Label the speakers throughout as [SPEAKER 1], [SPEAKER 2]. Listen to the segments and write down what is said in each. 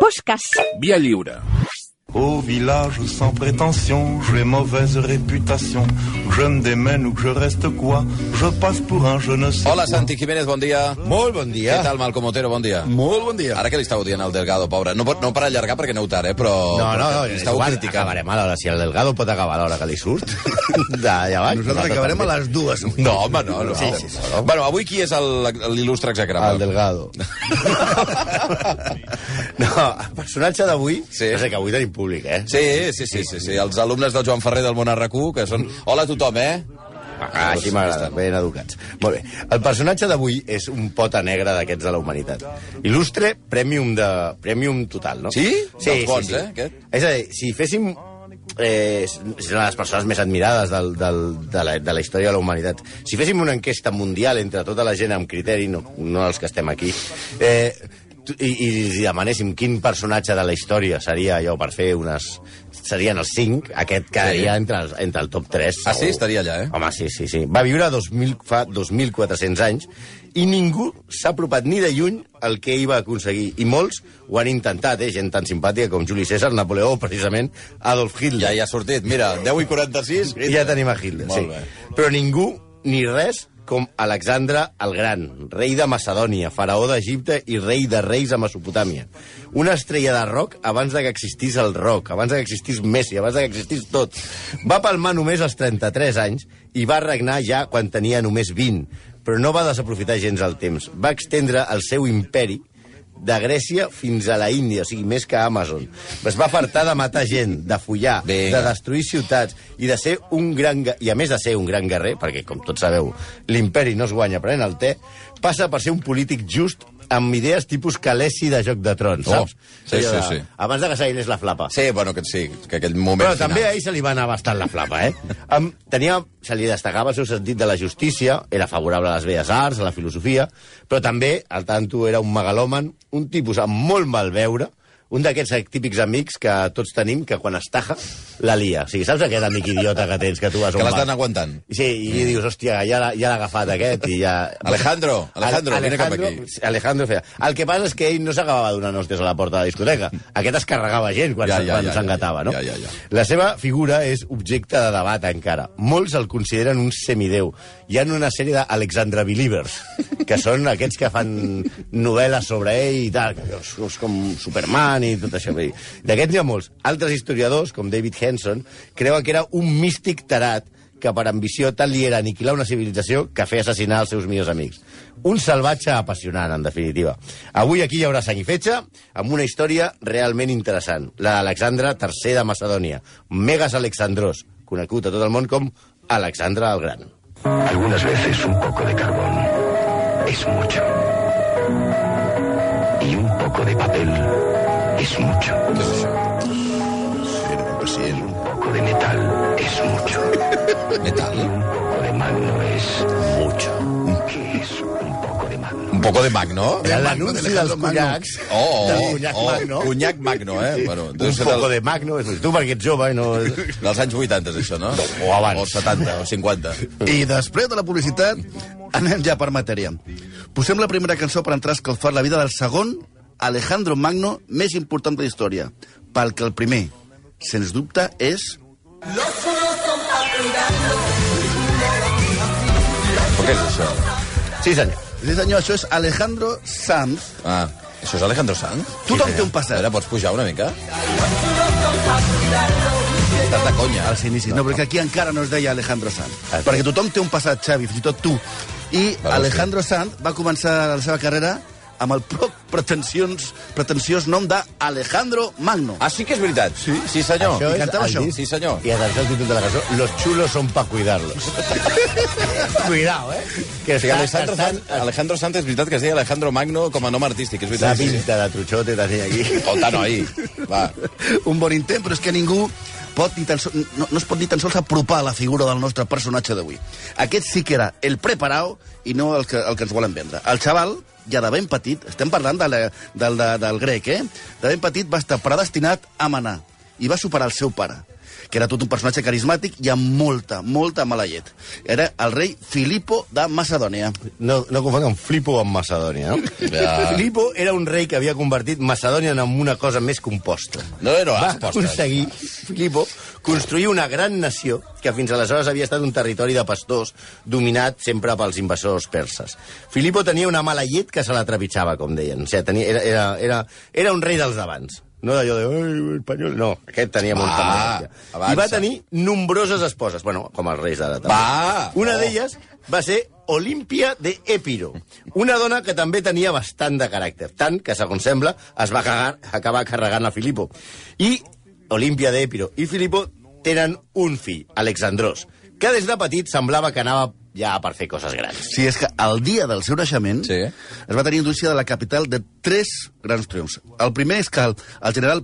[SPEAKER 1] Fosques.
[SPEAKER 2] Via lliure.
[SPEAKER 3] Au village sans prétention, j'ai mauvaise réputation. Je me démène ou que je reste quoi Je passe pour un je ne sais
[SPEAKER 4] Hola, Santi Jiménez, bon dia.
[SPEAKER 5] Molt bon
[SPEAKER 4] Què
[SPEAKER 5] dia.
[SPEAKER 4] tal, Malcom Otero, bon dia.
[SPEAKER 5] Molt bon dia.
[SPEAKER 4] Ara que li estàveu dient al Delgado, pobre. No, pot- no per allargar perquè aneu tard, eh, però...
[SPEAKER 5] No, no, no,
[SPEAKER 4] li
[SPEAKER 5] és
[SPEAKER 4] Estàveu
[SPEAKER 5] igual,
[SPEAKER 4] criticant.
[SPEAKER 5] acabarem a l'hora. Si el Delgado pot acabar a l'hora que li surt, de, ja va.
[SPEAKER 6] Nosaltres acabarem a
[SPEAKER 5] també.
[SPEAKER 6] les dues.
[SPEAKER 4] No, home, no. no.
[SPEAKER 5] Sí, sí, sí.
[SPEAKER 4] Bueno, avui qui és el- l'il·lustre
[SPEAKER 5] El
[SPEAKER 4] execrable?
[SPEAKER 5] Delgado. no, el personatge d'avui...
[SPEAKER 4] Sí.
[SPEAKER 5] No sé, que avui tenim públic, eh?
[SPEAKER 4] Sí, sí, sí, sí, sí, els alumnes del Joan Ferrer del Monarracú, que són... Hola a tothom, eh?
[SPEAKER 5] Ah, així m'agrada, ben educats. Molt bé. El personatge d'avui és un pota negre d'aquests de la humanitat. Il·lustre, premium, de, premium total, no?
[SPEAKER 4] Sí?
[SPEAKER 5] Sí,
[SPEAKER 4] Dels bons,
[SPEAKER 5] sí, sí.
[SPEAKER 4] eh, aquest?
[SPEAKER 5] És a dir, si féssim... Eh, és una de les persones més admirades del, del, de, la, de la història de la humanitat. Si féssim una enquesta mundial entre tota la gent amb criteri, no, no els que estem aquí, eh, tu- i, i si demanéssim quin personatge de la història seria allò per fer unes... Serien els 5, aquest quedaria
[SPEAKER 4] Sí.
[SPEAKER 5] entre, els, entre el top 3.
[SPEAKER 4] Ah, sí? Estaria allà, eh?
[SPEAKER 5] Home, sí, sí, sí. Va viure 2000, fa 2.400 anys i ningú s'ha apropat ni de lluny al que ell va aconseguir. I molts ho han intentat, eh? Gent tan simpàtica com Juli César, Napoleó, o precisament Adolf Hitler.
[SPEAKER 4] Ja hi ha sortit, mira, 10 i 46.
[SPEAKER 5] I ja tenim a Hitler,
[SPEAKER 4] Molt
[SPEAKER 5] sí.
[SPEAKER 4] bé.
[SPEAKER 5] Però ningú ni res com Alexandre el Gran, rei de Macedònia, faraó d'Egipte i rei de reis a Mesopotàmia. Una estrella de rock abans de que existís el rock, abans de que existís Messi, abans de que existís tot. Va palmar només als 33 anys i va regnar ja quan tenia només 20, però no va desaprofitar gens el temps. Va extendre el seu imperi de Grècia fins a la Índia, o sigui, més que Amazon. Es va fartar de matar gent, de follar,
[SPEAKER 4] Vinga.
[SPEAKER 5] de destruir ciutats i de ser un gran... ga- I a més de ser un gran guerrer, perquè, com tots sabeu, l'imperi no es guanya prenent el té, passa per ser un polític just amb idees tipus Calesi de Joc de Trons,
[SPEAKER 4] Oh,
[SPEAKER 5] saps?
[SPEAKER 4] sí,
[SPEAKER 5] Allò
[SPEAKER 4] sí,
[SPEAKER 5] de-
[SPEAKER 4] sí.
[SPEAKER 5] Abans de que s'aïlés la flapa.
[SPEAKER 4] Sí, bueno, que sí, que aquell moment
[SPEAKER 5] Però
[SPEAKER 4] final.
[SPEAKER 5] també a ell se li va anar bastant la flapa, eh? Em, tenia, se li destacava el seu sentit de la justícia, era favorable a les belles arts, a la filosofia, però també, al tanto, era un megalòman, un tipus amb molt mal veure, un d'aquests típics amics que tots tenim, que quan es taja, la lia. O sigui, saps aquest amic idiota que tens, que tu vas a un
[SPEAKER 4] Que l'has
[SPEAKER 5] bar?
[SPEAKER 4] d'anar aguantant.
[SPEAKER 5] Sí, i mm. dius, hòstia, ja l'ha ja l'ha agafat aquest i ja...
[SPEAKER 4] Alejandro, Alejandro,
[SPEAKER 5] Ale-
[SPEAKER 4] vine cap aquí.
[SPEAKER 5] Alejandro feia... El que passa és que ell no s'acabava donant hòsties a la porta de la discoteca. Aquest es carregava gent quan
[SPEAKER 4] Ja, ja,
[SPEAKER 5] ja,
[SPEAKER 4] ja,
[SPEAKER 5] ja,
[SPEAKER 4] ja,
[SPEAKER 5] s'engatava, no?
[SPEAKER 4] ja, ja, ja.
[SPEAKER 5] La seva figura és objecte de debat encara. Molts el consideren un semideu. Hi ha una sèrie d'Alexandra Believers, que són aquests que fan novel·les sobre ell i tal, que és, és com Superman i tot això. Bé, D'aquests hi ha molts. Altres historiadors, com David Henson, creuen que era un místic tarat que per ambició tal li era aniquilar una civilització que fer assassinar els seus millors amics. Un salvatge apassionant, en definitiva. Avui aquí hi haurà sang i fetge amb una història realment interessant, la d'Alexandre III de Macedònia, Megas Alexandros, conegut a tot el món com Alexandre el Gran.
[SPEAKER 7] Algunas veces un poco de carbón es mucho. Y un poco de papel es mucho. Un poco de metal es mucho.
[SPEAKER 4] Metal.
[SPEAKER 7] Un poco de magno es mucho. ¿Qué es un poco de magno?
[SPEAKER 4] Un poco de magno.
[SPEAKER 5] Era
[SPEAKER 6] Magno,
[SPEAKER 5] l'anunci dels
[SPEAKER 6] d'Alejandro Magno.
[SPEAKER 5] conyacs.
[SPEAKER 4] Oh, oh,
[SPEAKER 5] del
[SPEAKER 4] oh,
[SPEAKER 5] conyac
[SPEAKER 4] oh,
[SPEAKER 5] Magno.
[SPEAKER 4] conyac magno, eh? Bueno, deu
[SPEAKER 5] un
[SPEAKER 4] ser
[SPEAKER 5] poco
[SPEAKER 4] del-
[SPEAKER 5] de magno. és- Tu perquè ets jove i no...
[SPEAKER 4] Dels anys 80, és això, no?
[SPEAKER 5] O abans.
[SPEAKER 4] O 70, o 50.
[SPEAKER 6] I després de la publicitat, anem ja per matèria. Posem la primera cançó per entrar a escalfar la vida del segon Alejandro Magno més important de la història. Pel que el primer, sens dubte, és...
[SPEAKER 4] Però què és això?
[SPEAKER 5] Sí, senyor.
[SPEAKER 6] Sí, senyor, això és Alejandro Sanz.
[SPEAKER 4] Ah, això és Alejandro Sanz?
[SPEAKER 6] Tothom té un
[SPEAKER 4] A veure,
[SPEAKER 6] passat
[SPEAKER 4] pots pujar una mica? Estàs de conya.
[SPEAKER 6] als inicis. No, perquè aquí encara no es deia Alejandro Sanz.
[SPEAKER 5] Ah, sí.
[SPEAKER 6] Perquè tothom té un passat, Xavi, fins i tot tu. I
[SPEAKER 7] Ah,
[SPEAKER 4] Vale,
[SPEAKER 6] Alejandro Sanz va començar la seva carrera amb el poc pretensions, pretensiós nom d'Alejandro Magno.
[SPEAKER 4] Ah, sí que és veritat. Sí, sí senyor.
[SPEAKER 5] Això
[SPEAKER 6] I
[SPEAKER 5] és
[SPEAKER 6] cantava
[SPEAKER 5] el
[SPEAKER 6] això.
[SPEAKER 5] disc-
[SPEAKER 4] Sí, senyor.
[SPEAKER 5] I atenció al títol de la cançó, Los chulos son pa cuidarlos. Cuidao, eh? Que
[SPEAKER 4] O sigui,
[SPEAKER 5] està,
[SPEAKER 4] Alejandro,
[SPEAKER 5] està,
[SPEAKER 4] Sanz, Alejandro Sanz és veritat que es deia Alejandro Magno com a nom artístic, és
[SPEAKER 5] la
[SPEAKER 4] veritat. Sí, sí.
[SPEAKER 5] pinta de truchote tenia aquí.
[SPEAKER 4] Escolta, noi, va.
[SPEAKER 6] Un bon intent, però és que ningú pot ni tan sol, no, no es pot ni tan sols apropar a la figura del nostre personatge d'avui. Aquest sí que era el preparau i no el que, el que ens volen vendre. El xaval, ja de ben petit, estem parlant de la, del, de, del grec, eh? De ben petit va estar predestinat a manar i va superar el seu pare. que era tot un personatge carismàtic i amb molta, molta mala llet. Era el rei Filipo de Macedònia.
[SPEAKER 5] No, no confongui amb Flipo amb Macedònia, no?
[SPEAKER 4] Ja.
[SPEAKER 5] Flipo era un rei que havia convertit Macedònia en una cosa més composta.
[SPEAKER 4] No, no,
[SPEAKER 5] Va
[SPEAKER 4] les postes.
[SPEAKER 5] aconseguir, Filipo, construir una gran nació que fins aleshores havia estat un territori de pastors dominat sempre pels invasors perses. Filipo tenia una mala llet que se la trepitjava, com deien. O sigui, tenia, era, era, era, era un rei dels d'abans. No d'allò de... "Ai, espanyol... No, aquest tenia molta
[SPEAKER 4] Va,
[SPEAKER 5] malàcia. I va
[SPEAKER 4] avança.
[SPEAKER 5] tenir nombroses esposes. Bueno, com els reis d'ara, també.
[SPEAKER 4] Va!
[SPEAKER 5] Una
[SPEAKER 4] Oh.
[SPEAKER 5] d'elles va ser Olímpia de Épiro, una dona que també tenia bastant de caràcter, tant que, segons sembla, es va cagar, acabar carregant a Filipo. I Olímpia de Épiro i Filipo tenen un fill, Alexandros, que des de petit semblava que anava ja per fer coses grans.
[SPEAKER 6] Sí, és que el dia del seu naixement
[SPEAKER 4] Sí.
[SPEAKER 6] es va tenir indústria de la capital de tres grans triomfs. El primer és que el, el general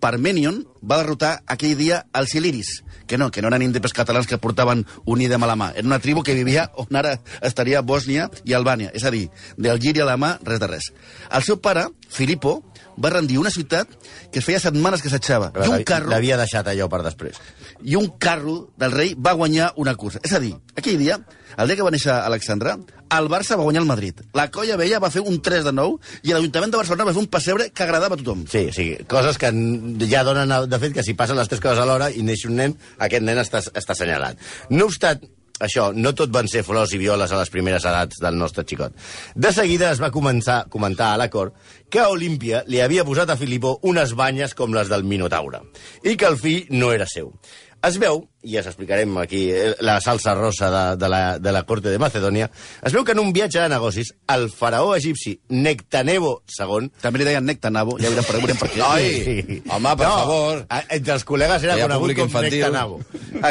[SPEAKER 6] Parmenion va derrotar aquell dia els Iliris, que no, que no eren índepes catalans que portaven un idem a la mà. Era una tribu que vivia on ara estaria Bòsnia i Albània, és a dir, d'Algíria a la mà, res de res. El seu pare, Filipo, va rendir una ciutat que feia setmanes que s'atxava. I un carro
[SPEAKER 5] L'havia deixat allò per després.
[SPEAKER 6] i un carro del rei va guanyar una cursa. És a dir, aquell dia, el dia que va néixer Alexandra, el Barça va guanyar el Madrid. La Colla Vella va fer un 3 de 9 i l'Ajuntament de Barcelona va fer un pessebre que agradava a tothom.
[SPEAKER 5] Sí, sí, coses que n- ja donen... el- De fet, que si passen les tres coses alhora i neix un nen, aquest nen està, està assenyalat. No obstant, això, no tot van ser flors i violes a les primeres edats del nostre xicot. De seguida es va començar a comentar a l'acord que Olímpia li havia posat a Filipó unes banyes com les del Minotaure i que el fill no era seu. Es veu, i ja s'explicarem aquí eh, la salsa rosa de, de, la, de la corte de Macedònia, es veu que en un viatge de negocis el faraó egipci Nectanebo II
[SPEAKER 6] També li deien Nectanabo, ja veurem per, veurem per què.
[SPEAKER 4] Ai, home, per favor.
[SPEAKER 5] a- Entre els col·legues era
[SPEAKER 4] Hi ha
[SPEAKER 5] conegut
[SPEAKER 4] públic
[SPEAKER 5] com
[SPEAKER 4] infantil.
[SPEAKER 5] Nectanabo.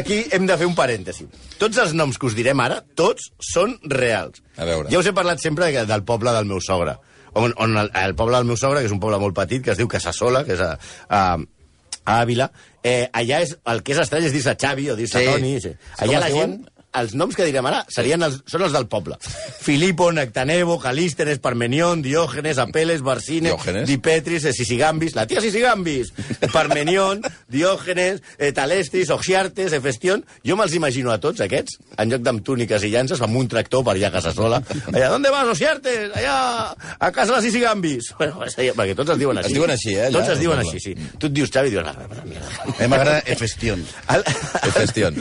[SPEAKER 5] Aquí hem de fer un parèntesi. Tots els noms que us direm ara, tots són reals.
[SPEAKER 4] A veure.
[SPEAKER 5] Ja us he parlat sempre de- del poble del meu sogre. On, on el, el poble del meu sogre, que és un poble molt petit, que es diu Casasola, que és a, a, a Àvila, eh, allà és, el que és estrany és dir-se Xavi o dir-se
[SPEAKER 4] Sí.
[SPEAKER 5] Toni. Sí.
[SPEAKER 4] Com
[SPEAKER 5] Allà
[SPEAKER 4] es
[SPEAKER 5] la
[SPEAKER 4] diuen?
[SPEAKER 5] gent els noms que direm ara serien els, són els del poble. Filipo, Nectanebo, Calístenes, Parmenion, Diògenes, Apeles, Barsines,
[SPEAKER 4] Diògenes?
[SPEAKER 5] Dipetris, eh, Sisigambis, la tia Sisigambis, Parmenion, Diògenes, eh, Talestis, Oxiartes, Efestion... Jo me'ls imagino a tots aquests, en lloc d'amb túniques i llances, amb un tractor per allà a casa sola. Allà, on vas, Oxiartes? Allà, a casa de Sisigambis. Bueno, és allà, perquè tots es diuen
[SPEAKER 4] Es
[SPEAKER 5] així.
[SPEAKER 4] diuen així, eh, allà,
[SPEAKER 5] Tots
[SPEAKER 4] al
[SPEAKER 5] es diuen
[SPEAKER 4] poble.
[SPEAKER 5] així, sí. Tu et dius Xavi i diuen... "Ah, la mierda".
[SPEAKER 6] A mi m'agrada Efestion.
[SPEAKER 5] El,
[SPEAKER 4] Gestión.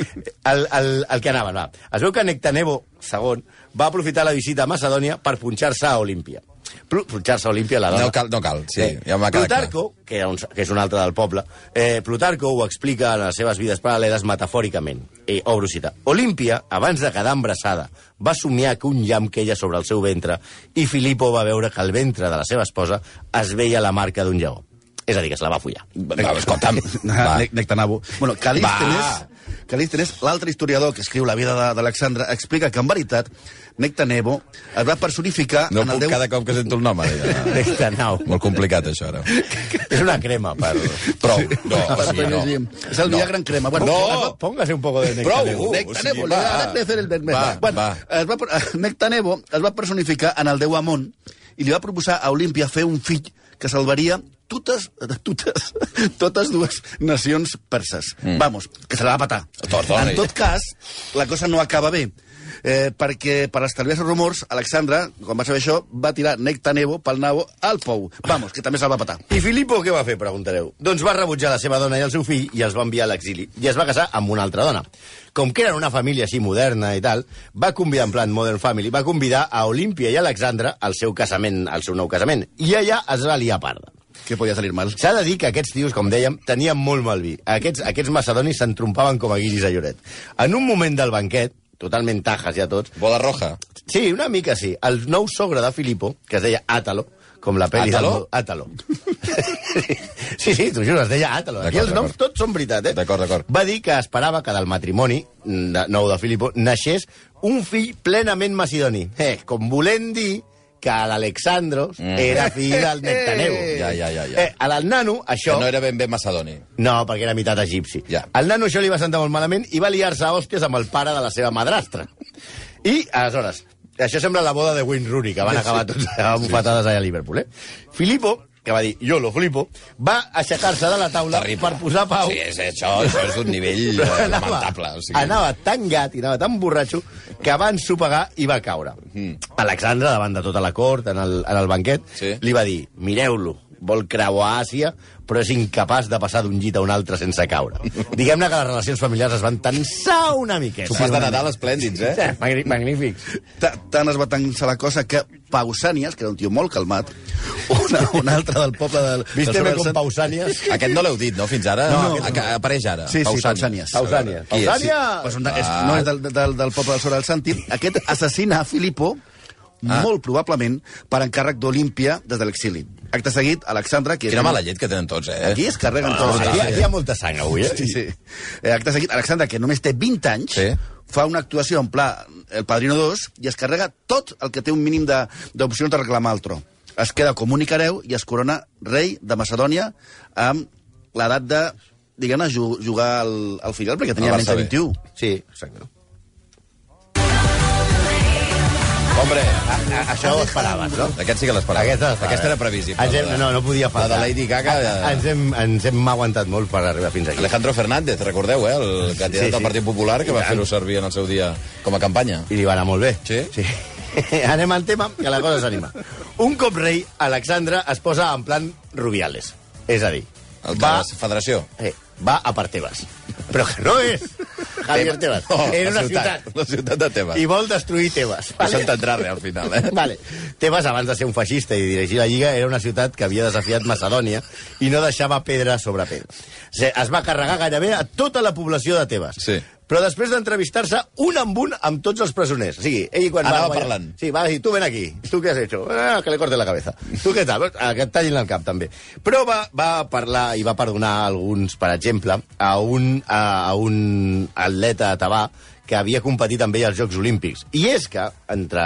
[SPEAKER 5] el, el, el que anaven, va. Es veu que Nectanebo II va aprofitar la visita a Macedònia per punxar-se a Olímpia. Plu- Punxar-se a Olímpia, la dona. Eh,
[SPEAKER 4] No cal- no cal, sí, ja m'ha quedat
[SPEAKER 5] Plutarco, que, era un, que és un altre del poble, eh, Plutarco ho explica en les seves vides paral·leles metafòricament. Eh, obro cita. Olímpia, abans de quedar embarassada, va somiar que un llamp queia sobre el seu ventre i Filipo va veure que el ventre de la seva esposa es veia la marca d'un lleó. És a dir, que se la va follar.
[SPEAKER 4] Va, escolta'm. Va.
[SPEAKER 6] Ne- Nectanabo. Bueno, Calístenes, Calístenes l'altre historiador que escriu la vida de- d'Alexandre, explica que, en veritat, Nectanebo es va personificar
[SPEAKER 4] No
[SPEAKER 6] en el
[SPEAKER 4] puc
[SPEAKER 6] déu...
[SPEAKER 4] cada cop que sento el nom, ara.
[SPEAKER 5] Nectanau.
[SPEAKER 4] Molt complicat, això, ara.
[SPEAKER 5] És una crema, per...
[SPEAKER 4] Prou. No, o
[SPEAKER 6] Para
[SPEAKER 4] sigui, no.
[SPEAKER 6] protegir. És el Viagra en crema. Bueno,
[SPEAKER 4] No.
[SPEAKER 5] Póngase un poco de
[SPEAKER 4] Prou!
[SPEAKER 5] nectareu.
[SPEAKER 6] Nectanebo,
[SPEAKER 4] O sigui,
[SPEAKER 6] li
[SPEAKER 4] va.
[SPEAKER 6] ha de fer el vermell.
[SPEAKER 4] Va,
[SPEAKER 6] bueno,
[SPEAKER 4] va.
[SPEAKER 6] Es va, per- Nectanebo es va personificar en el déu Amon i li va proposar a Olímpia fer un fill que salvaria totes, totes, totes dues nacions perses. Mm. Vamos, que se la va patar.
[SPEAKER 4] Perdoni.
[SPEAKER 6] En tot cas, la cosa no acaba bé. Eh, perquè, per estalviar-se rumors, Alexandre, quan va saber això, va tirar Nectanebo pel nabo al pou. Vamos, que també se'l va patar.
[SPEAKER 5] I Filippo què va fer, preguntareu? Doncs va rebutjar la seva dona i el seu fill i els va enviar a l'exili. I es va casar amb una altra dona. Com que eren una família així moderna i tal, va convidar, en plan Modern Family, va convidar a Olímpia i Alexandra al seu casament, al seu nou casament. I allà es va liar parda.
[SPEAKER 6] Que podia salir mal.
[SPEAKER 5] S'ha de dir que aquests tios, com dèiem, tenien molt mal vi. Aquests, aquests macedonis s'entrompaven com a guiris a Lloret. En un moment del banquet, totalment tajas ja tots,
[SPEAKER 4] Bola roja.
[SPEAKER 5] Sí, una mica sí. El nou sogre de Filipo, que es deia Àtalo, com la pel·li...
[SPEAKER 4] Àtalo?
[SPEAKER 5] del- Àtalo. sí, sí, t'ho juro, es deia Àtalo. Aquí
[SPEAKER 4] D'acord,
[SPEAKER 5] els noms
[SPEAKER 4] d'acord.
[SPEAKER 5] tots són veritat, eh?
[SPEAKER 4] D'acord, d'acord.
[SPEAKER 5] Va dir que esperava que del matrimoni de- nou de Filipo naixés un fill plenament macedoni. Eh, com volent dir que l'Alexandros mm. era fill del Nectanebo.
[SPEAKER 4] Ja, ja, ja, ja.
[SPEAKER 5] Eh, a l'al nano, això...
[SPEAKER 4] Que no era ben bé macedoni.
[SPEAKER 5] No, perquè era meitat egipci.
[SPEAKER 4] Ja.
[SPEAKER 5] El nano això li va sentar molt malament i va liar-se a hòsties amb el pare de la seva madrastra. I, aleshores, això sembla la boda de Wayne Rooney, que van acabar tots a bufetades allà a Liverpool, eh? Filippo, que va dir, jo lo flipo, va aixecar-se de la taula
[SPEAKER 4] Terrible.
[SPEAKER 5] per posar pau.
[SPEAKER 4] Sí, és, això, això és d'un nivell eh, lamentable. O sigui,
[SPEAKER 5] anava tan gat i anava tan borratxo que va ensopegar i va caure. Alexandre, davant de tota la cort, en el, en el banquet,
[SPEAKER 4] Hmm. Sí.
[SPEAKER 5] li va dir, mireu-lo, vol creuar Àsia, però és incapaç de passar d'un llit a un altre sense caure. Diguem-ne que les relacions familiars es van tensar una miqueta.
[SPEAKER 4] Sopars de Nadal esplèndids, eh?
[SPEAKER 5] Magní- Magnífics.
[SPEAKER 6] Ta- Tant es va tancar la cosa que Pausànies, que era un tio molt calmat, una, un altre del poble del... del
[SPEAKER 5] Visteme
[SPEAKER 6] sobre
[SPEAKER 5] com
[SPEAKER 6] Sant-
[SPEAKER 5] Pausànies.
[SPEAKER 4] Aquest no l'heu dit, no, fins ara?
[SPEAKER 6] No,
[SPEAKER 4] aquest no. Apareix ara.
[SPEAKER 6] Sí, sí, Pausànies.
[SPEAKER 5] Pausànies.
[SPEAKER 4] Qui és? Ah.
[SPEAKER 5] Pausània!
[SPEAKER 6] Pues un, és, no és del, del, del poble del Sobre del Santim. Aquest assassina a Filipo, ah. molt probablement, per encàrrec d'Olímpia des de l'exili. Acte seguit, Alexandre... Que és
[SPEAKER 4] Quina mala llet que tenen tots, eh?
[SPEAKER 6] Aquí es carreguen
[SPEAKER 5] Oh,
[SPEAKER 6] tots.
[SPEAKER 5] aquí, aquí hi ha molta sang avui, eh?
[SPEAKER 6] Sí, sí. Eh, Acte seguit, Alexandre, que només té 20 anys,
[SPEAKER 4] Sí.
[SPEAKER 6] fa una actuació en pla El Padrino 2 i es carrega tot el que té un mínim de- d'opcions de, de reclamar al tro. Es queda com únic hereu i es corona rei de Macedònia amb l'edat de, diguem-ne, ju- jugar al, al final, perquè tenia
[SPEAKER 4] Al
[SPEAKER 6] menys de
[SPEAKER 4] Barça B.
[SPEAKER 6] 21.
[SPEAKER 5] Sí, exacte.
[SPEAKER 4] Hombre,
[SPEAKER 5] A, això ho esperaves, no?
[SPEAKER 4] aquest sí que l'esperava.
[SPEAKER 5] Aquesta,
[SPEAKER 4] Aquesta era previsible.
[SPEAKER 5] Ens hem,
[SPEAKER 4] la de-
[SPEAKER 5] no, no podia
[SPEAKER 4] La
[SPEAKER 5] faltar.
[SPEAKER 4] de Lady Gaga... eh,
[SPEAKER 5] Ah, Ens hem, ens hem aguantat molt per arribar fins aquí.
[SPEAKER 4] Alejandro Fernández, recordeu, eh? El candidat
[SPEAKER 5] Sí, sí.
[SPEAKER 4] del Partit Popular que va fer-ho servir en el seu dia com a campanya.
[SPEAKER 5] I li va anar molt bé.
[SPEAKER 4] Sí?
[SPEAKER 5] sí. Anem al tema, que la cosa s'anima. Un cop rei, Alexandre es posa en plan Rubiales. És a dir,
[SPEAKER 4] El de
[SPEAKER 5] va,
[SPEAKER 4] la federació.
[SPEAKER 5] eh, va a per Tebas. Però que no és Javier Tebas.
[SPEAKER 4] No,
[SPEAKER 5] Era
[SPEAKER 4] la
[SPEAKER 5] una ciutat.
[SPEAKER 4] La ciutat de Tebas.
[SPEAKER 5] I vol destruir Tebas.
[SPEAKER 4] No s'entendrà res al final, eh?
[SPEAKER 5] Vale. Tebas, abans de ser un feixista i dirigir la Lliga, era una ciutat que havia desafiat Macedònia i no deixava pedra sobre pedra. Se- Es va carregar gairebé a tota la població de Tebas.
[SPEAKER 4] Sí.
[SPEAKER 5] Però després d'entrevistar-se un amb un amb tots els presoners. O sigui, ell quan
[SPEAKER 4] Anava
[SPEAKER 5] va guanyar-
[SPEAKER 4] parlant.
[SPEAKER 5] Sí, va dir, tu ven aquí, tu què has hecho? Ah, que le corte la cabeza. Tu què tal? Ah, que et tallin el cap, també. Però va, va parlar i va perdonar a alguns, per exemple, a un, a, a un atleta tabà que havia competit amb ell als Jocs Olímpics. I és que, entre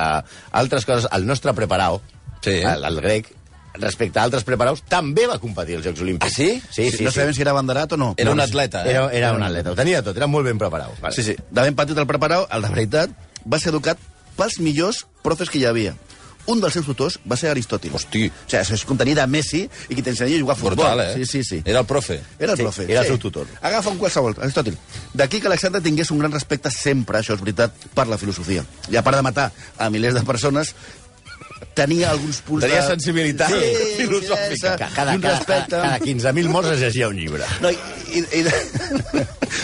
[SPEAKER 5] altres coses, el nostre preparao,
[SPEAKER 4] Sí.
[SPEAKER 5] el, el grec, respecte a altres preparaus, també va competir als Jocs Olímpics.
[SPEAKER 4] Ah, sí?
[SPEAKER 5] Sí, sí,
[SPEAKER 6] no
[SPEAKER 5] sí.
[SPEAKER 6] sabem si era banderat o no.
[SPEAKER 4] Era un
[SPEAKER 6] No, no sé.
[SPEAKER 4] atleta, eh?
[SPEAKER 5] Era, era un atleta, ho tenia tot, era molt ben preparat. Vale.
[SPEAKER 6] Sí, sí. De ben petit el preparau, el de veritat, va ser educat pels millors profes que hi havia. Un dels seus tutors va ser Aristòtil.
[SPEAKER 4] Hosti.
[SPEAKER 6] O sigui, això és contenia de Messi i qui t'ensenya a jugar a futbol.
[SPEAKER 4] Brutal, eh?
[SPEAKER 6] Sí, sí, sí.
[SPEAKER 4] Era el profe.
[SPEAKER 6] Era el
[SPEAKER 5] Sí,
[SPEAKER 6] profe.
[SPEAKER 5] era el seu tutor.
[SPEAKER 6] Agafa un qualsevol, Aristòtil. D'aquí que Alexandre tingués un gran respecte sempre, això és veritat, per la filosofia. I a part de matar a milers de persones, tenia alguns punts
[SPEAKER 4] Tenia
[SPEAKER 6] de...
[SPEAKER 4] sensibilitat filosòfica.
[SPEAKER 6] finesa,
[SPEAKER 5] Ca- Cada,
[SPEAKER 6] i un
[SPEAKER 5] cada, cada,
[SPEAKER 6] respecte.
[SPEAKER 5] cada 15.000 morts es llegia un llibre.
[SPEAKER 6] No, i, i, i...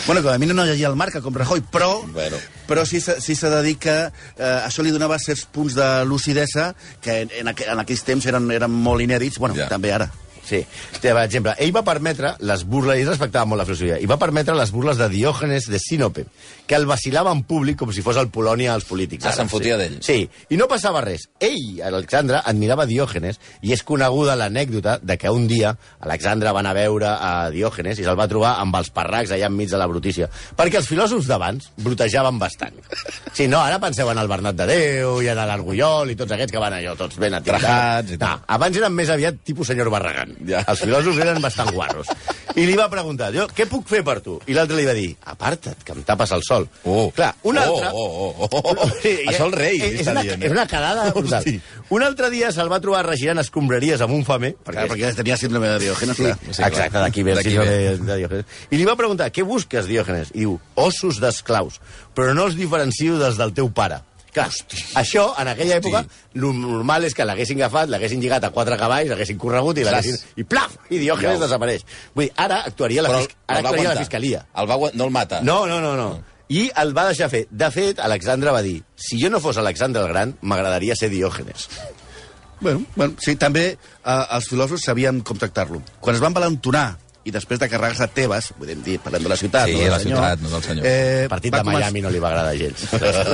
[SPEAKER 6] bueno, com a mi no llegia el marca, com Rajoy, però,
[SPEAKER 4] Bueno.
[SPEAKER 6] bueno. però sí, se- sí s'ha de dir que eh, això li donava certs punts de lucidesa que en, en, aqu en aquells temps eren, eren molt inèdits, bueno,
[SPEAKER 4] Ja.
[SPEAKER 6] ja. també ara.
[SPEAKER 5] Sí. Per exemple, ell va permetre les burles, ell respectava molt la filosofia, i va permetre les burles de Diògenes de Sinope, que el vacilava en públic com si fos el Polònia als polítics.
[SPEAKER 4] Ah,
[SPEAKER 5] Ara,
[SPEAKER 4] se'n fotia
[SPEAKER 5] sí.
[SPEAKER 4] d'ell.
[SPEAKER 5] Sí, i no passava res. Ell, Alexandre, admirava Diògenes, i és coneguda l'anècdota de que un dia Alexandre va anar a veure a Diògenes i se'l va trobar amb els parracs allà enmig de la brutícia, perquè els filòsofs d'abans brutejaven bastant. Si no, ara penseu en el Bernat de Déu i en l'Argullol i tots aquests que van allò, tots ben atirats.
[SPEAKER 4] Trajats i
[SPEAKER 5] No,
[SPEAKER 4] tal.
[SPEAKER 5] abans eren més aviat tipus senyor Barragán. Ja. Els filòsofs eren bastant guarros. I li va preguntar, jo, què puc fer per tu? I l'altre li va dir, aparta't, que em tapes el sol.
[SPEAKER 4] Oh.
[SPEAKER 5] Clar, un
[SPEAKER 4] Oh,
[SPEAKER 5] altre...
[SPEAKER 4] oh, oh, oh, oh. Això el rei
[SPEAKER 5] és,
[SPEAKER 4] està
[SPEAKER 5] una,
[SPEAKER 4] dient, eh?
[SPEAKER 5] és una quedada brutal.
[SPEAKER 4] Hosti.
[SPEAKER 5] Un altre dia se'l va trobar regirant escombraries amb un famer, perquè
[SPEAKER 6] Clar, perquè tenia síndrome de Diògenes, clar.
[SPEAKER 4] Sí,
[SPEAKER 5] Sí,
[SPEAKER 4] clar.
[SPEAKER 5] Exacte, d'aquí ve el
[SPEAKER 4] D'aquí
[SPEAKER 5] síndrome
[SPEAKER 4] ve.
[SPEAKER 5] de, de Diògenes. I li va preguntar, què busques, Diògenes? I diu, ossos d'esclaus, però no els diferencio dels del teu pare. Clar, això, en aquella època, lo normal és que l'haguessin agafat, l'haguessin lligat a quatre cavalls, l'haguessin corregut i
[SPEAKER 4] Clar.
[SPEAKER 5] l'haguessin... I plaf! I Diògenes
[SPEAKER 4] Ja.
[SPEAKER 5] desapareix. Vull dir, ara actuaria la,
[SPEAKER 4] Però
[SPEAKER 5] fisc... ara
[SPEAKER 4] el va
[SPEAKER 5] actuaria la
[SPEAKER 4] aguantar.
[SPEAKER 5] fiscalia.
[SPEAKER 4] El va, aguant- no el mata.
[SPEAKER 5] No, no, no, no. I el va deixar fer. De fet, Alexandre va dir, si jo no fos Alexandre el Gran, m'agradaria ser Diògenes.
[SPEAKER 6] Bueno, bueno, sí, també eh, els filòsofs sabien com tractar-lo. Quan es van valentonar i després de carregar-se Tebas, podem dir, parlem de la ciutat,
[SPEAKER 4] Sí,
[SPEAKER 6] no del
[SPEAKER 4] la
[SPEAKER 6] senyor,
[SPEAKER 4] ciutat, no del senyor.
[SPEAKER 6] Eh,
[SPEAKER 5] El partit
[SPEAKER 6] va
[SPEAKER 5] de
[SPEAKER 6] començar-
[SPEAKER 5] Miami no li va agradar gens.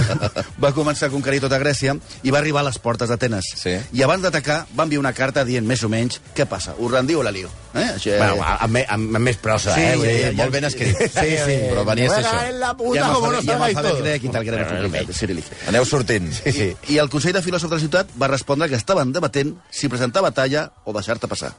[SPEAKER 6] va començar a conquerir tota Grècia i va arribar a les portes d'Atenes.
[SPEAKER 4] Sí.
[SPEAKER 6] I abans d'atacar va enviar una carta dient més o menys què passa, us rendiu o la lío? Eh? Això,
[SPEAKER 5] Bueno, amb, amb, amb més prosa,
[SPEAKER 4] Sí,
[SPEAKER 5] eh?
[SPEAKER 4] eh,
[SPEAKER 5] Vull dir,
[SPEAKER 4] ja, ja el
[SPEAKER 5] molt-
[SPEAKER 4] ben escrit.
[SPEAKER 5] Sí, sí.
[SPEAKER 4] Però venies
[SPEAKER 5] Me
[SPEAKER 4] això.
[SPEAKER 5] cago en la puta,
[SPEAKER 6] ja
[SPEAKER 5] com
[SPEAKER 6] m'ha
[SPEAKER 5] no
[SPEAKER 6] ja
[SPEAKER 5] sabáis
[SPEAKER 6] m'ha
[SPEAKER 5] todo.
[SPEAKER 6] grec i tal, grec republicat, cirílic.
[SPEAKER 4] Aneu sortint.
[SPEAKER 5] Sí, sí.
[SPEAKER 6] I el Consell de Filòsofs de la ciutat va respondre que estaven debatent si presentar batalla o deixar-te passar.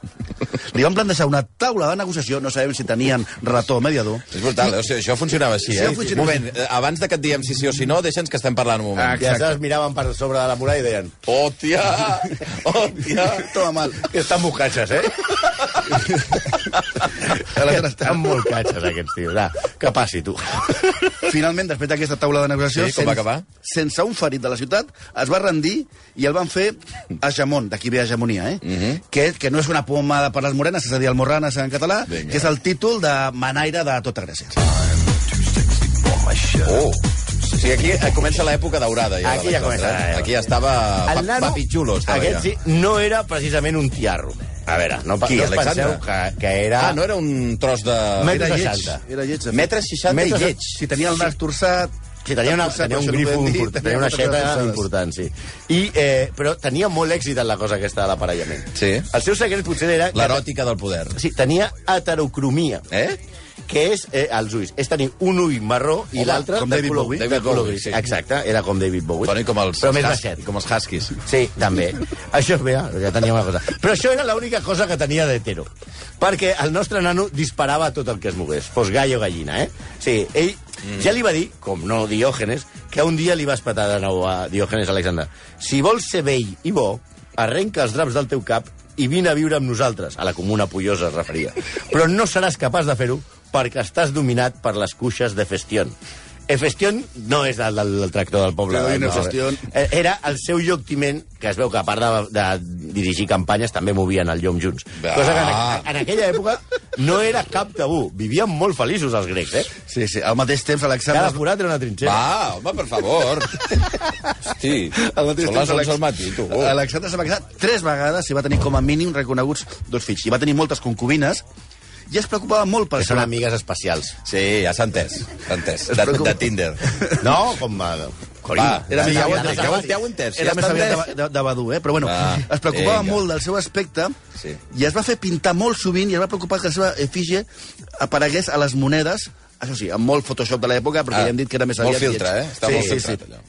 [SPEAKER 6] Li van plantejar una taula de negociació, no sabem si tenien relator o mediador.
[SPEAKER 4] És brutal, o sigui, això funcionava així,
[SPEAKER 6] Sí,
[SPEAKER 4] eh?
[SPEAKER 6] funcionava
[SPEAKER 4] moment, eh, abans de que et diem si sí o si no, deixa'ns que estem parlant un moment.
[SPEAKER 5] I aleshores miraven per sobre de la muralla i deien
[SPEAKER 4] Hòstia! Hòstia!
[SPEAKER 5] Ah,
[SPEAKER 6] Toma mal.
[SPEAKER 5] que estan molt catxes, eh?
[SPEAKER 6] Aleshores,
[SPEAKER 5] estan molt catxes, aquests tios. Ah, que passi, tu.
[SPEAKER 6] Finalment, després d'aquesta taula de negociació,
[SPEAKER 4] Sí, com va acabar?
[SPEAKER 6] sense un ferit de la ciutat, es va rendir i el van fer a Jamón, d'aquí ve hegemonia, eh?
[SPEAKER 4] Mhm.
[SPEAKER 6] que, que no és una pomada per les morenes, és a dir, el Morranes en català,
[SPEAKER 4] Vinga.
[SPEAKER 6] que és el títol de Manaire de tota Grècia.
[SPEAKER 4] Oh! O sigui, aquí eh, comença l'època daurada. Ja, de
[SPEAKER 5] Aquí ja
[SPEAKER 4] l'Alexandre,
[SPEAKER 5] comença
[SPEAKER 4] eh?
[SPEAKER 5] l'època.
[SPEAKER 4] Aquí ja estava...
[SPEAKER 5] Ah,
[SPEAKER 4] pa- Papi xulo, estava
[SPEAKER 5] aquest
[SPEAKER 4] ja.
[SPEAKER 5] sí, no era precisament un tiarro. A veure, no, pa-
[SPEAKER 4] Qui,
[SPEAKER 5] no us
[SPEAKER 4] Alexandre?
[SPEAKER 5] penseu que, que era...
[SPEAKER 4] Ah, no era un tros de...
[SPEAKER 5] Metre
[SPEAKER 4] Era lleig.
[SPEAKER 5] 60.
[SPEAKER 6] Era lleig. de
[SPEAKER 4] Metre 60
[SPEAKER 5] Metre
[SPEAKER 4] i lleig.
[SPEAKER 5] seixanta.
[SPEAKER 6] Si tenia el nas torçat...
[SPEAKER 5] Sí, tenia, una,
[SPEAKER 6] torçat,
[SPEAKER 5] tenia un
[SPEAKER 6] això no ho
[SPEAKER 5] grifo
[SPEAKER 6] podem dir,
[SPEAKER 5] important, tenia una
[SPEAKER 6] moltes
[SPEAKER 5] xeta
[SPEAKER 6] torçades.
[SPEAKER 5] important, sí. I, eh, però tenia molt èxit en la cosa aquesta de l'aparellament.
[SPEAKER 4] Sí.
[SPEAKER 5] El seu secret potser era... que-
[SPEAKER 4] L'eròtica del poder.
[SPEAKER 5] Sí, tenia heterocromia.
[SPEAKER 4] Eh?
[SPEAKER 5] que és eh, els ulls. És tenir un ull marró i
[SPEAKER 4] Home,
[SPEAKER 5] l'altre
[SPEAKER 4] com
[SPEAKER 5] de
[SPEAKER 4] David
[SPEAKER 5] color,
[SPEAKER 4] Bowie.
[SPEAKER 5] de
[SPEAKER 4] David
[SPEAKER 5] color
[SPEAKER 4] Bowie,
[SPEAKER 5] gris.
[SPEAKER 4] sí.
[SPEAKER 5] Exacte, era com David Bowie.
[SPEAKER 4] Toni, com els,
[SPEAKER 5] Però més
[SPEAKER 4] hus-
[SPEAKER 5] baixet.
[SPEAKER 4] com els huskies.
[SPEAKER 5] Sí, també. Això, mira, ja tenia una cosa. Però això era l'única cosa que tenia d'hetero. Perquè el nostre nano disparava tot el que es mogués. Fos gai o gallina, eh? Sí, ell ja li va dir, com no Diògenes, que un dia li va espetar de nou a Diògenes Alexandre. Si vols ser vell i bo, arrenca els draps del teu cap i vine a viure amb nosaltres. A la comuna Pollosa es referia. Però no seràs capaç de fer-ho perquè estàs dominat per les cuixes de Festion. Efestion no és el, del del tractor del poble.
[SPEAKER 6] Te doy una
[SPEAKER 5] no,
[SPEAKER 6] Festion.
[SPEAKER 5] Eh, era el seu lloctiment, que es veu que a part de, de dirigir campanyes també movien el llom junts.
[SPEAKER 4] Ah.
[SPEAKER 5] Cosa que en, en aquella època no era cap tabú. Vivien molt feliços els grecs, eh?
[SPEAKER 6] Sí, sí. Al mateix temps, Alexandre...
[SPEAKER 5] Cada forat era una trinxera.
[SPEAKER 4] Va, home, per favor. Hosti, són
[SPEAKER 6] Al
[SPEAKER 4] les
[SPEAKER 6] mateix temps,
[SPEAKER 4] 11
[SPEAKER 6] Alex-
[SPEAKER 4] del matí, tu. oh.
[SPEAKER 6] Alexandre s'ha casat tres vegades i va tenir com a mínim reconeguts dos fills. I va tenir moltes concubines i es preocupava molt
[SPEAKER 5] Que
[SPEAKER 6] pel
[SPEAKER 5] són
[SPEAKER 6] seu
[SPEAKER 5] amigues especials.
[SPEAKER 4] Sí, ja s'ha entès, s'ha entès.
[SPEAKER 6] Es
[SPEAKER 4] De,
[SPEAKER 6] preocupa.
[SPEAKER 4] de Tinder.
[SPEAKER 5] No, com... A...
[SPEAKER 4] Va,
[SPEAKER 5] Corín.
[SPEAKER 4] era
[SPEAKER 5] Sí,
[SPEAKER 4] més
[SPEAKER 5] ja ho
[SPEAKER 4] aviat,
[SPEAKER 5] entès,
[SPEAKER 4] ja
[SPEAKER 5] ja ho
[SPEAKER 4] ho
[SPEAKER 5] entès.
[SPEAKER 4] ja ho entès.
[SPEAKER 6] Era
[SPEAKER 4] Ja
[SPEAKER 6] més
[SPEAKER 4] s'ha
[SPEAKER 6] aviat
[SPEAKER 4] entès.
[SPEAKER 6] de, de, de Badu, eh? Però bueno,
[SPEAKER 4] Ah,
[SPEAKER 6] es preocupava
[SPEAKER 4] vinga.
[SPEAKER 6] molt del seu aspecte
[SPEAKER 4] Sí.
[SPEAKER 6] i es va fer pintar molt sovint i es va preocupar que la seva efígie aparegués a les monedes això sí, amb molt Photoshop de l'època, perquè
[SPEAKER 4] Ah,
[SPEAKER 6] ja hem dit que era més
[SPEAKER 4] molt
[SPEAKER 6] aviat...
[SPEAKER 4] filtre,
[SPEAKER 6] lleig.
[SPEAKER 4] eh? Està
[SPEAKER 6] sí,
[SPEAKER 4] molt
[SPEAKER 6] sí,
[SPEAKER 4] filtrat,
[SPEAKER 6] sí.
[SPEAKER 4] allò.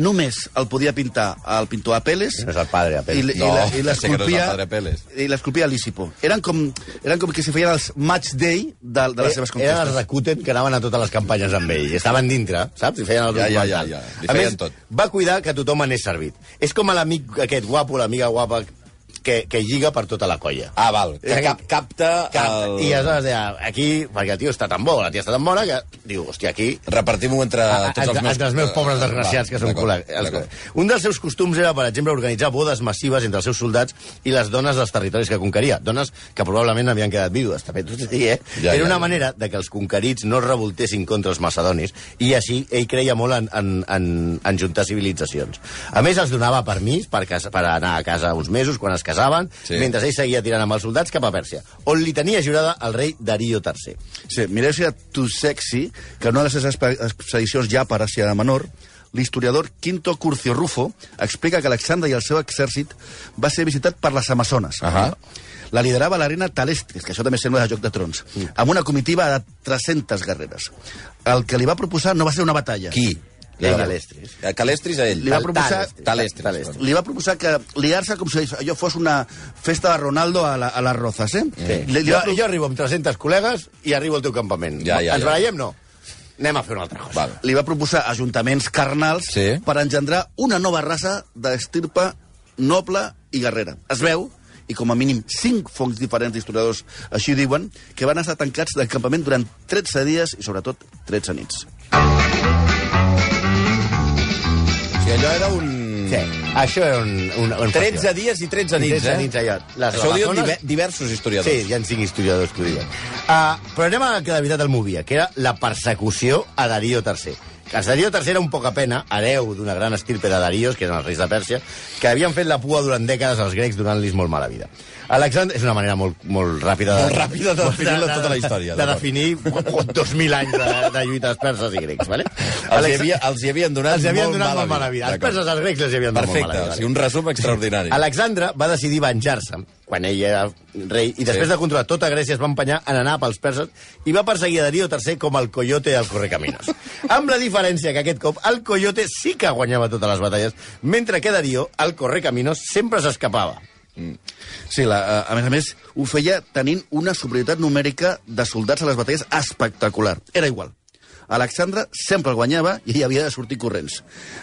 [SPEAKER 6] Només el podia pintar el pintor Apeles.
[SPEAKER 5] No és el padre, Apeles.
[SPEAKER 6] I, l- i,
[SPEAKER 4] No,
[SPEAKER 6] la-
[SPEAKER 4] ja sé que no és el
[SPEAKER 6] i l'esculpia...
[SPEAKER 4] padre Apeles.
[SPEAKER 6] I l'esculpia Lísipo. Eren com, eren com que s'hi feien els match day de, de
[SPEAKER 4] Eh,
[SPEAKER 6] les seves
[SPEAKER 5] Eren els
[SPEAKER 6] conquestes.
[SPEAKER 5] Eh, Rakuten que anaven a totes les campanyes amb ell. Estaven dintre, saps? I feien el
[SPEAKER 4] Ja,
[SPEAKER 5] grup
[SPEAKER 4] ja,
[SPEAKER 5] mental.
[SPEAKER 4] ja, ja. Li
[SPEAKER 5] A
[SPEAKER 4] feien
[SPEAKER 5] més,
[SPEAKER 4] tot.
[SPEAKER 5] va cuidar que tothom anés servit. És com l'amic aquest guapo, l'amiga guapa, que, que lliga per tota la colla.
[SPEAKER 4] Ah, val. Que cap, capta
[SPEAKER 5] Cap,
[SPEAKER 4] Ah, el...
[SPEAKER 5] I aleshores deia, aquí, perquè el tio està tan bo, la tia està tan bona, que diu, hòstia, aquí...
[SPEAKER 4] Repartim-ho entre
[SPEAKER 5] a-
[SPEAKER 4] tots els
[SPEAKER 5] entre-
[SPEAKER 4] meus...
[SPEAKER 5] Ah, entre els meus pobres
[SPEAKER 4] Ah,
[SPEAKER 5] desgraciats
[SPEAKER 4] va,
[SPEAKER 5] que són
[SPEAKER 4] d'acord,
[SPEAKER 5] col·legues. Els-
[SPEAKER 4] d'acord.
[SPEAKER 5] Un dels seus costums era, per exemple, organitzar bodes massives entre els seus soldats i les dones dels territoris que conqueria. Dones que probablement havien quedat vídues, també t'ho dic, eh?
[SPEAKER 4] Ja,
[SPEAKER 5] Ja,
[SPEAKER 4] ja,
[SPEAKER 5] era una
[SPEAKER 4] ja.
[SPEAKER 5] manera de que els conquerits no es revoltessin contra els macedonis i així ell creia molt en, en, en, en juntar civilitzacions. A més, els donava permís per, cas, per anar a casa uns mesos, quan es casaven,
[SPEAKER 4] Sí.
[SPEAKER 5] sí. mentre ell seguia tirant amb els soldats cap a Pèrsia, on li tenia jurada el rei Darío III.
[SPEAKER 6] Sí, mireu si era tu sexy, que en una de les seves expe- expedicions ja per Àsia Menor, l'historiador Quinto Curcio Rufo explica que Alexandre i el seu exèrcit va ser visitat per les Amazones.
[SPEAKER 4] Ahà.
[SPEAKER 6] La liderava la reina Talestis, que això també sembla de Joc de Trons,
[SPEAKER 4] Mm.
[SPEAKER 6] amb una comitiva de 300 guerreres. El que li va proposar no va ser una batalla.
[SPEAKER 4] Qui?
[SPEAKER 5] Ell,
[SPEAKER 4] Ella.
[SPEAKER 5] Calestris.
[SPEAKER 4] A Calestris a ell.
[SPEAKER 6] Li va
[SPEAKER 4] Tal-
[SPEAKER 6] proposar-
[SPEAKER 4] Talestris. Talestris.
[SPEAKER 5] Talestris.
[SPEAKER 6] Li va proposar que liar-se com si allò fos una festa de Ronaldo a, la, a les Rozas, eh?
[SPEAKER 5] Sí.
[SPEAKER 6] Li, li
[SPEAKER 5] jo,
[SPEAKER 6] va, pro-
[SPEAKER 5] jo arribo amb 300 col·legues i arribo al teu campament.
[SPEAKER 4] Ja, ja,
[SPEAKER 5] Ens
[SPEAKER 4] ja.
[SPEAKER 5] barallem? No. Anem a fer una altra cosa.
[SPEAKER 4] Val.
[SPEAKER 6] li va proposar ajuntaments carnals
[SPEAKER 4] Sí.
[SPEAKER 6] per engendrar una nova raça d'estirpa noble i guerrera. Es veu, i com a mínim cinc fonts diferents d'historiadors així ho diuen, que van estar tancats del campament durant 13 dies i, sobretot, 13 nits.
[SPEAKER 4] O sigui, allò era un...
[SPEAKER 5] Sí, això era un... un, un
[SPEAKER 4] 13 dies i 13 nits,
[SPEAKER 5] 13
[SPEAKER 4] eh?
[SPEAKER 5] nits allà. Les
[SPEAKER 4] Això ho diuen
[SPEAKER 5] Amazones-
[SPEAKER 4] diver- diversos
[SPEAKER 5] Sí,
[SPEAKER 4] historiadors.
[SPEAKER 5] hi ha cinc historiadors que ho diuen. Uh, però anem a la que de veritat el movia, que era la persecució a Darío III. Que Darío III era un poca pena, hereu d'una gran estirpe de Daríos, que eren els reis de Pèrsia, que havien fet la pua durant dècades als grecs donant-los molt mala vida. Alexandre... És una manera molt, molt ràpida de...
[SPEAKER 4] Molt ràpida de definir-la tota la història,
[SPEAKER 5] De, de
[SPEAKER 4] d'acord.
[SPEAKER 5] definir oh, 2.000 anys de, de lluites perses i grecs, vale?
[SPEAKER 4] Els hi, havia, els hi havien donat,
[SPEAKER 5] Els hi havien
[SPEAKER 4] molt
[SPEAKER 5] donat molt mala vida. Els
[SPEAKER 4] D'acord.
[SPEAKER 5] perses als grecs els hi havien donat molt
[SPEAKER 4] Perfecte,
[SPEAKER 5] mala vida.
[SPEAKER 4] o sigui, un resum extraordinari.
[SPEAKER 5] Alexandre va decidir venjar-se quan ell era rei, i després
[SPEAKER 4] Sí.
[SPEAKER 5] sí. de controlar tota Grècia es va empanyar en anar pels perses i va perseguir a Darío III com el coyote del Correcaminos. amb la diferència que aquest cop el coyote sí que guanyava totes les batalles, mentre que Darío, el Correcaminos, sempre s'escapava.
[SPEAKER 6] Sí, la, eh, a- a més a més, ho feia tenint una superioritat numèrica de soldats a les batalles espectacular. Era igual. Alexandre sempre el guanyava i ell havia de sortir corrents.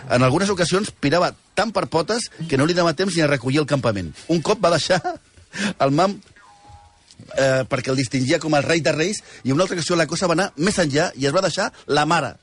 [SPEAKER 6] En algunes ocasions pirava tant per potes que no li dava temps ni a recollir el campament. Un cop va deixar el mam eh, perquè el distingia com el rei de reis i una altra ocasió la cosa va anar més enllà i es va deixar la mare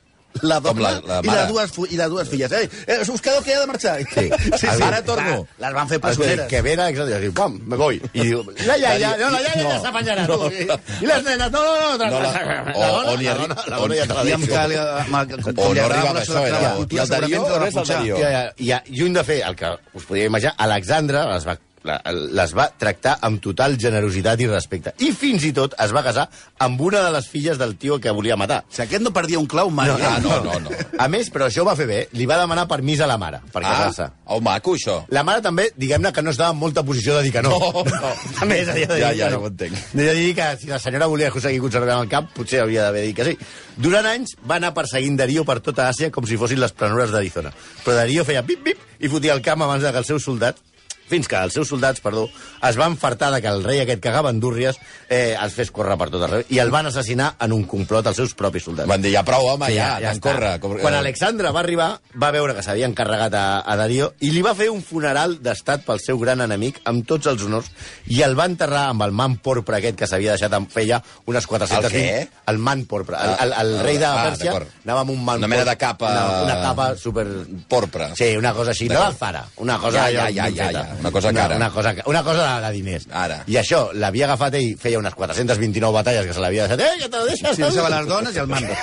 [SPEAKER 6] la
[SPEAKER 4] Com
[SPEAKER 6] dona
[SPEAKER 4] la- la
[SPEAKER 6] i, les
[SPEAKER 4] mare.
[SPEAKER 6] dues, fu- i les dues filles. Eh, eh, us quedo que he de marxar. Sí, Ah,
[SPEAKER 5] Ara torno.
[SPEAKER 6] Les van fer
[SPEAKER 5] Escolta,
[SPEAKER 6] presoneres.
[SPEAKER 5] que ve l'Alexandre i diu, pam, me voy. I diu, la iaia, no, la iaia no, ja s'apanyarà. No, I les nenes, no, no, no.
[SPEAKER 4] No, la-
[SPEAKER 5] la,
[SPEAKER 4] o-
[SPEAKER 5] dona,
[SPEAKER 4] on hi
[SPEAKER 5] la,
[SPEAKER 4] arri-
[SPEAKER 5] dona, la dona ja te la
[SPEAKER 6] I amb
[SPEAKER 5] deixo.
[SPEAKER 6] que li, amb el, com
[SPEAKER 4] O
[SPEAKER 6] li
[SPEAKER 4] no
[SPEAKER 6] agradava
[SPEAKER 4] arribava,
[SPEAKER 6] la seva
[SPEAKER 4] això era.
[SPEAKER 6] clavicultura,
[SPEAKER 4] I el Darío,
[SPEAKER 6] segurament
[SPEAKER 4] on
[SPEAKER 6] la
[SPEAKER 4] és el
[SPEAKER 6] va
[SPEAKER 4] Darío?
[SPEAKER 5] Ja, ja, ja, lluny de fer el que us podíeu imaginar, Alexandre les va, la- les va tractar amb total generositat i respecte. I fins i tot es va casar amb una de les filles del tio que volia matar.
[SPEAKER 6] Si aquest no perdia un clau mai.
[SPEAKER 4] No,
[SPEAKER 6] eh?
[SPEAKER 4] ah, no, no, no.
[SPEAKER 5] A més, però això ho va fer bé, li va demanar permís a la mare per casar-se.
[SPEAKER 4] Ah, oh, maco, això.
[SPEAKER 5] La mare també, diguem-ne, que no estava en molta posició de dir que no.
[SPEAKER 4] No, no.
[SPEAKER 5] També és a dir,
[SPEAKER 4] Ja,
[SPEAKER 5] que
[SPEAKER 4] ja,
[SPEAKER 5] no.
[SPEAKER 4] ho entenc.
[SPEAKER 5] És a dir, que si la senyora volia aconseguir conservar el cap, potser hauria d'haver dit que sí. Durant anys va anar perseguint Darío per tota Àsia com si fossin les planures d'Arizona. Però Darío feia pip-pip i fotia el camp abans de que els seus soldats fins que els seus soldats, perdó, es van fartar de que el rei aquest cagava en dúrries eh, els fes córrer per tot arreu i el van assassinar en un complot els seus propis soldats.
[SPEAKER 4] Van dir, ja prou, home, ja, ja, ja
[SPEAKER 5] està.
[SPEAKER 4] corre. Com- eh,
[SPEAKER 5] Quan Alexandre va arribar, va veure que s'havia encarregat a, a Darío i li va fer un funeral d'estat pel seu gran enemic amb tots els honors i el va enterrar amb el man porpre aquest que s'havia deixat amb feia unes 400...
[SPEAKER 4] El què?
[SPEAKER 5] El man porpre. El, el, el
[SPEAKER 4] Ah,
[SPEAKER 5] rei de
[SPEAKER 4] ah,
[SPEAKER 5] Pèrsia
[SPEAKER 4] d'acord.
[SPEAKER 5] anava amb un man
[SPEAKER 4] Una mena
[SPEAKER 5] porpre,
[SPEAKER 4] de capa-
[SPEAKER 5] Una, una capa super...
[SPEAKER 4] Porpra.
[SPEAKER 5] Sí, una cosa així, no d'alfara. Una cosa...
[SPEAKER 4] Ja, ja, ja,
[SPEAKER 5] ben
[SPEAKER 4] ja,
[SPEAKER 5] feta.
[SPEAKER 4] ja, una cosa cara.
[SPEAKER 5] Una, cosa, ca- una cosa de, de diners.
[SPEAKER 4] Ara.
[SPEAKER 5] I això l'havia agafat ell, feia unes 429 batalles que se l'havia deixat. Eh, que te la deixes?
[SPEAKER 6] Si deixava les dones i el mando.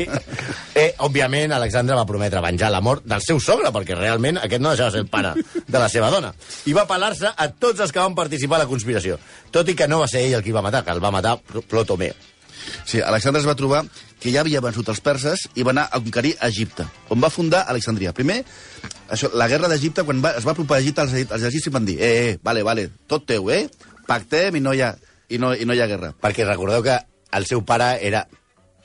[SPEAKER 5] eh, òbviament, Alexandre va prometre venjar la mort del seu sogre, perquè realment aquest no deixava de ser el pare de la seva dona. I va apel·lar-se a tots els que van participar a la conspiració, tot i que no va ser ell el qui va matar, que el va matar Pl- Ptolemeu.
[SPEAKER 6] Sí, Alexandre es va trobar que ja havia vençut els perses i va anar a conquerir Egipte, on va fundar Alexandria. Primer, això, la guerra d'Egipte, quan va, es va apropar a Egipte, els, egip- els egipcis van dir, eh, eh, vale, vale, tot teu, eh? Pactem i no hi ha, i no, i no hi ha guerra.
[SPEAKER 5] Perquè recordeu que el seu pare era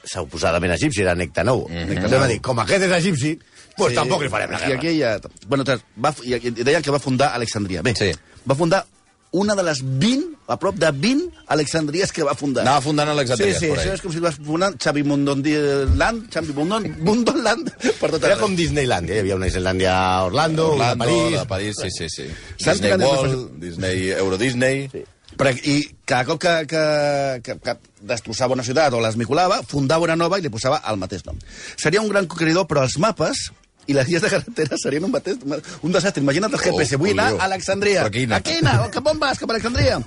[SPEAKER 5] suposadament egipci, era Nectanou.
[SPEAKER 6] Mhm.
[SPEAKER 5] Mm -hmm. Nectanou. Va dir, com aquest és egipci, doncs sí. tampoc li farem la
[SPEAKER 6] I
[SPEAKER 5] guerra.
[SPEAKER 6] aquí ja... Bueno, tras, va, i, i deien que va fundar Alexandria. Bé,
[SPEAKER 4] Sí.
[SPEAKER 6] va fundar una de les 20, a prop de 20 Alexandries que va fundar.
[SPEAKER 4] Anava fundant
[SPEAKER 6] Sí,
[SPEAKER 4] Alexandria,
[SPEAKER 6] sí,
[SPEAKER 4] por
[SPEAKER 6] això
[SPEAKER 4] ahí.
[SPEAKER 6] és com si vas fonant Xavi Mundonland, Xavi Mundon, Mundonland, per tot
[SPEAKER 5] Era
[SPEAKER 6] arreu.
[SPEAKER 5] com Disneylandia, hi havia una Disneylandia a Orlando, una a
[SPEAKER 4] Orlando,
[SPEAKER 5] París...
[SPEAKER 4] de París, sí, sí, sí.
[SPEAKER 6] Saps
[SPEAKER 4] Disney
[SPEAKER 6] que anava a fer-
[SPEAKER 4] World, Disney, Euro Disney... Sí.
[SPEAKER 6] Però, I cada cop que, que, que, que destrossava una ciutat o l'esmicolava, fundava una nova i li posava el mateix nom. Seria un gran conqueridor, però els mapes i les guies de carretera serien un, mateix, un desastre. Imagina't el GPS,
[SPEAKER 4] Oh,
[SPEAKER 6] vull anar
[SPEAKER 4] Julio.
[SPEAKER 6] a Alexandria.
[SPEAKER 4] Però quina?
[SPEAKER 6] A quina? Cap on vas? Cap a Alexandria?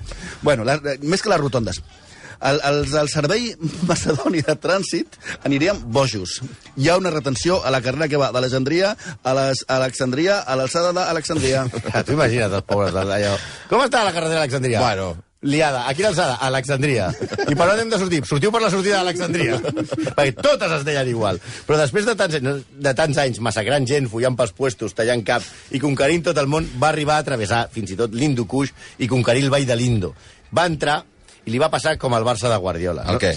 [SPEAKER 6] Bueno, la, eh, més que les rotondes. El, els, el servei macedoni de trànsit aniríem bojos. Hi ha una retenció a la carrera que va d'Alexandria a les, a Alexandria, a l'alçada d'Alexandria.
[SPEAKER 5] Ah, Tu imagina't els pobres d'allò. Com està la carretera d'Alexandria?
[SPEAKER 4] Bueno.
[SPEAKER 5] Liada. A quina alçada? A Alexandria. I per on hem de sortir? Sortiu per la sortida d'Alexandria. Perquè totes es deien igual. Però després de tants, anys- de tants anys massacrant gent, follant pels puestos, tallant cap i conquerint tot el món, va arribar a travessar fins i tot l'Hindukush i conquerir el vall de l'Indo. Va entrar i li va passar com al Barça de Guardiola.
[SPEAKER 4] El què?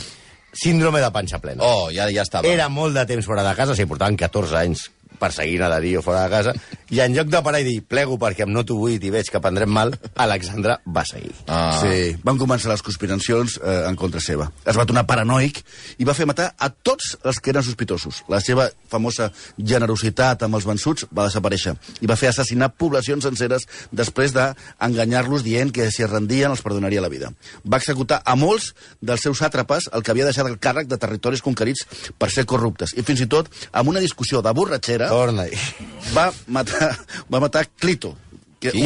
[SPEAKER 5] Síndrome de panxa plena.
[SPEAKER 4] Oh, ja, ja estava.
[SPEAKER 5] Era molt de temps fora de casa, o sigui, portaven 14 anys perseguint a Darío fora de casa, i en lloc de parar i dir, plego perquè amb no t'ho vull i veig que prendrem mal, Alexandre va seguir.
[SPEAKER 4] Ah.
[SPEAKER 6] Sí, van començar les conspiracions eh, en contra seva. Es va tornar paranoic i va fer matar a tots els que eren sospitosos. La seva famosa generositat amb els vençuts va desaparèixer i va fer assassinar poblacions senceres després d'enganyar-los dient que si es rendien els perdonaria la vida. Va executar a molts dels seus àtrapes el que havia deixat el càrrec de territoris conquerits per ser corruptes i fins i tot amb una discussió de borratxera
[SPEAKER 4] Oh.
[SPEAKER 5] Torna-hi.
[SPEAKER 6] va matar, va matar Clito. Que
[SPEAKER 4] Qui?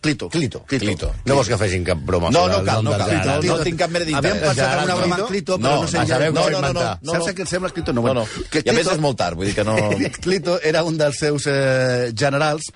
[SPEAKER 6] Clito.
[SPEAKER 5] Clito.
[SPEAKER 6] Clito.
[SPEAKER 4] Clito.
[SPEAKER 5] No vols que facin cap broma?
[SPEAKER 4] No,
[SPEAKER 5] sobre
[SPEAKER 4] no
[SPEAKER 5] el
[SPEAKER 4] cal,
[SPEAKER 5] nom
[SPEAKER 4] no
[SPEAKER 5] del
[SPEAKER 4] cal.
[SPEAKER 5] Gerard?
[SPEAKER 4] Clito,
[SPEAKER 5] No,
[SPEAKER 4] no tinc cap mena d'interès.
[SPEAKER 6] Havíem pensat en una broma
[SPEAKER 5] Clito?
[SPEAKER 6] amb Clito, però
[SPEAKER 5] No,
[SPEAKER 6] no, sé
[SPEAKER 5] a
[SPEAKER 6] ja...
[SPEAKER 5] saber
[SPEAKER 6] No,
[SPEAKER 5] com
[SPEAKER 6] no, no, no,
[SPEAKER 5] inventar.
[SPEAKER 6] no. Saps que et sembla Clito? No,
[SPEAKER 4] No, no.
[SPEAKER 6] bueno,
[SPEAKER 4] I a més és molt tard, vull dir que no...
[SPEAKER 6] Clito era un dels seus eh, generals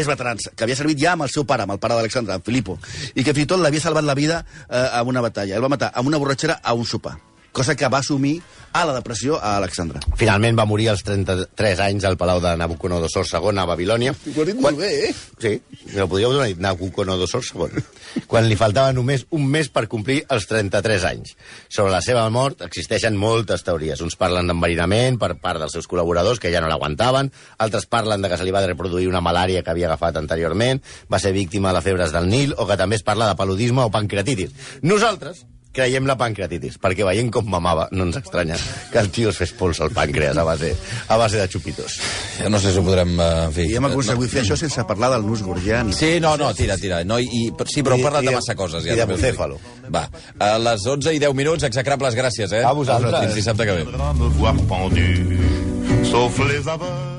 [SPEAKER 6] més veterans, que havia servit ja amb el seu pare, amb el pare d'Alexandre, amb Filippo, i que fins i tot l'havia salvat la vida eh, en una batalla. El va matar amb una borratxera a un sopar. cosa que va assumir a la depressió a Alexandre.
[SPEAKER 5] Finalment va morir als 33 anys al Palau de Nabucodonosor II a Babilònia.
[SPEAKER 6] Ho has dit molt bé, eh?
[SPEAKER 5] Sí, ho podríeu donar dit Nabucodonosor II. quan li faltava només un mes per complir els 33 anys. Sobre la seva mort existeixen moltes teories. Uns parlen d'enverinament per part dels seus col·laboradors, que ja no l'aguantaven. Altres parlen de que se li va reproduir una malària que havia agafat anteriorment, va ser víctima de febres del Nil, o que també es parla de paludisme o pancreatitis. Nosaltres creiem la pancreatitis, perquè veient com mamava, no ens estranya que el tio es fes pols al pàncreas a base, a base de xupitos.
[SPEAKER 4] Jo no sé si ho podrem... eh, En fi,
[SPEAKER 6] I hem aconseguit fer això sense parlar del nus gordian.
[SPEAKER 4] Sí, no, no, tira, tira. No, i, i, sí, però
[SPEAKER 5] I-
[SPEAKER 4] hem parlat
[SPEAKER 5] i
[SPEAKER 4] de
[SPEAKER 5] de-
[SPEAKER 4] massa coses.
[SPEAKER 5] i de
[SPEAKER 4] també us dic.
[SPEAKER 5] bucéfalo.
[SPEAKER 4] Va, a les 11 i 10 minuts, execrables gràcies, eh?
[SPEAKER 5] A vosaltres.
[SPEAKER 4] Fins dissabte que ve.
[SPEAKER 3] me voir pendu, sauf les aveugles.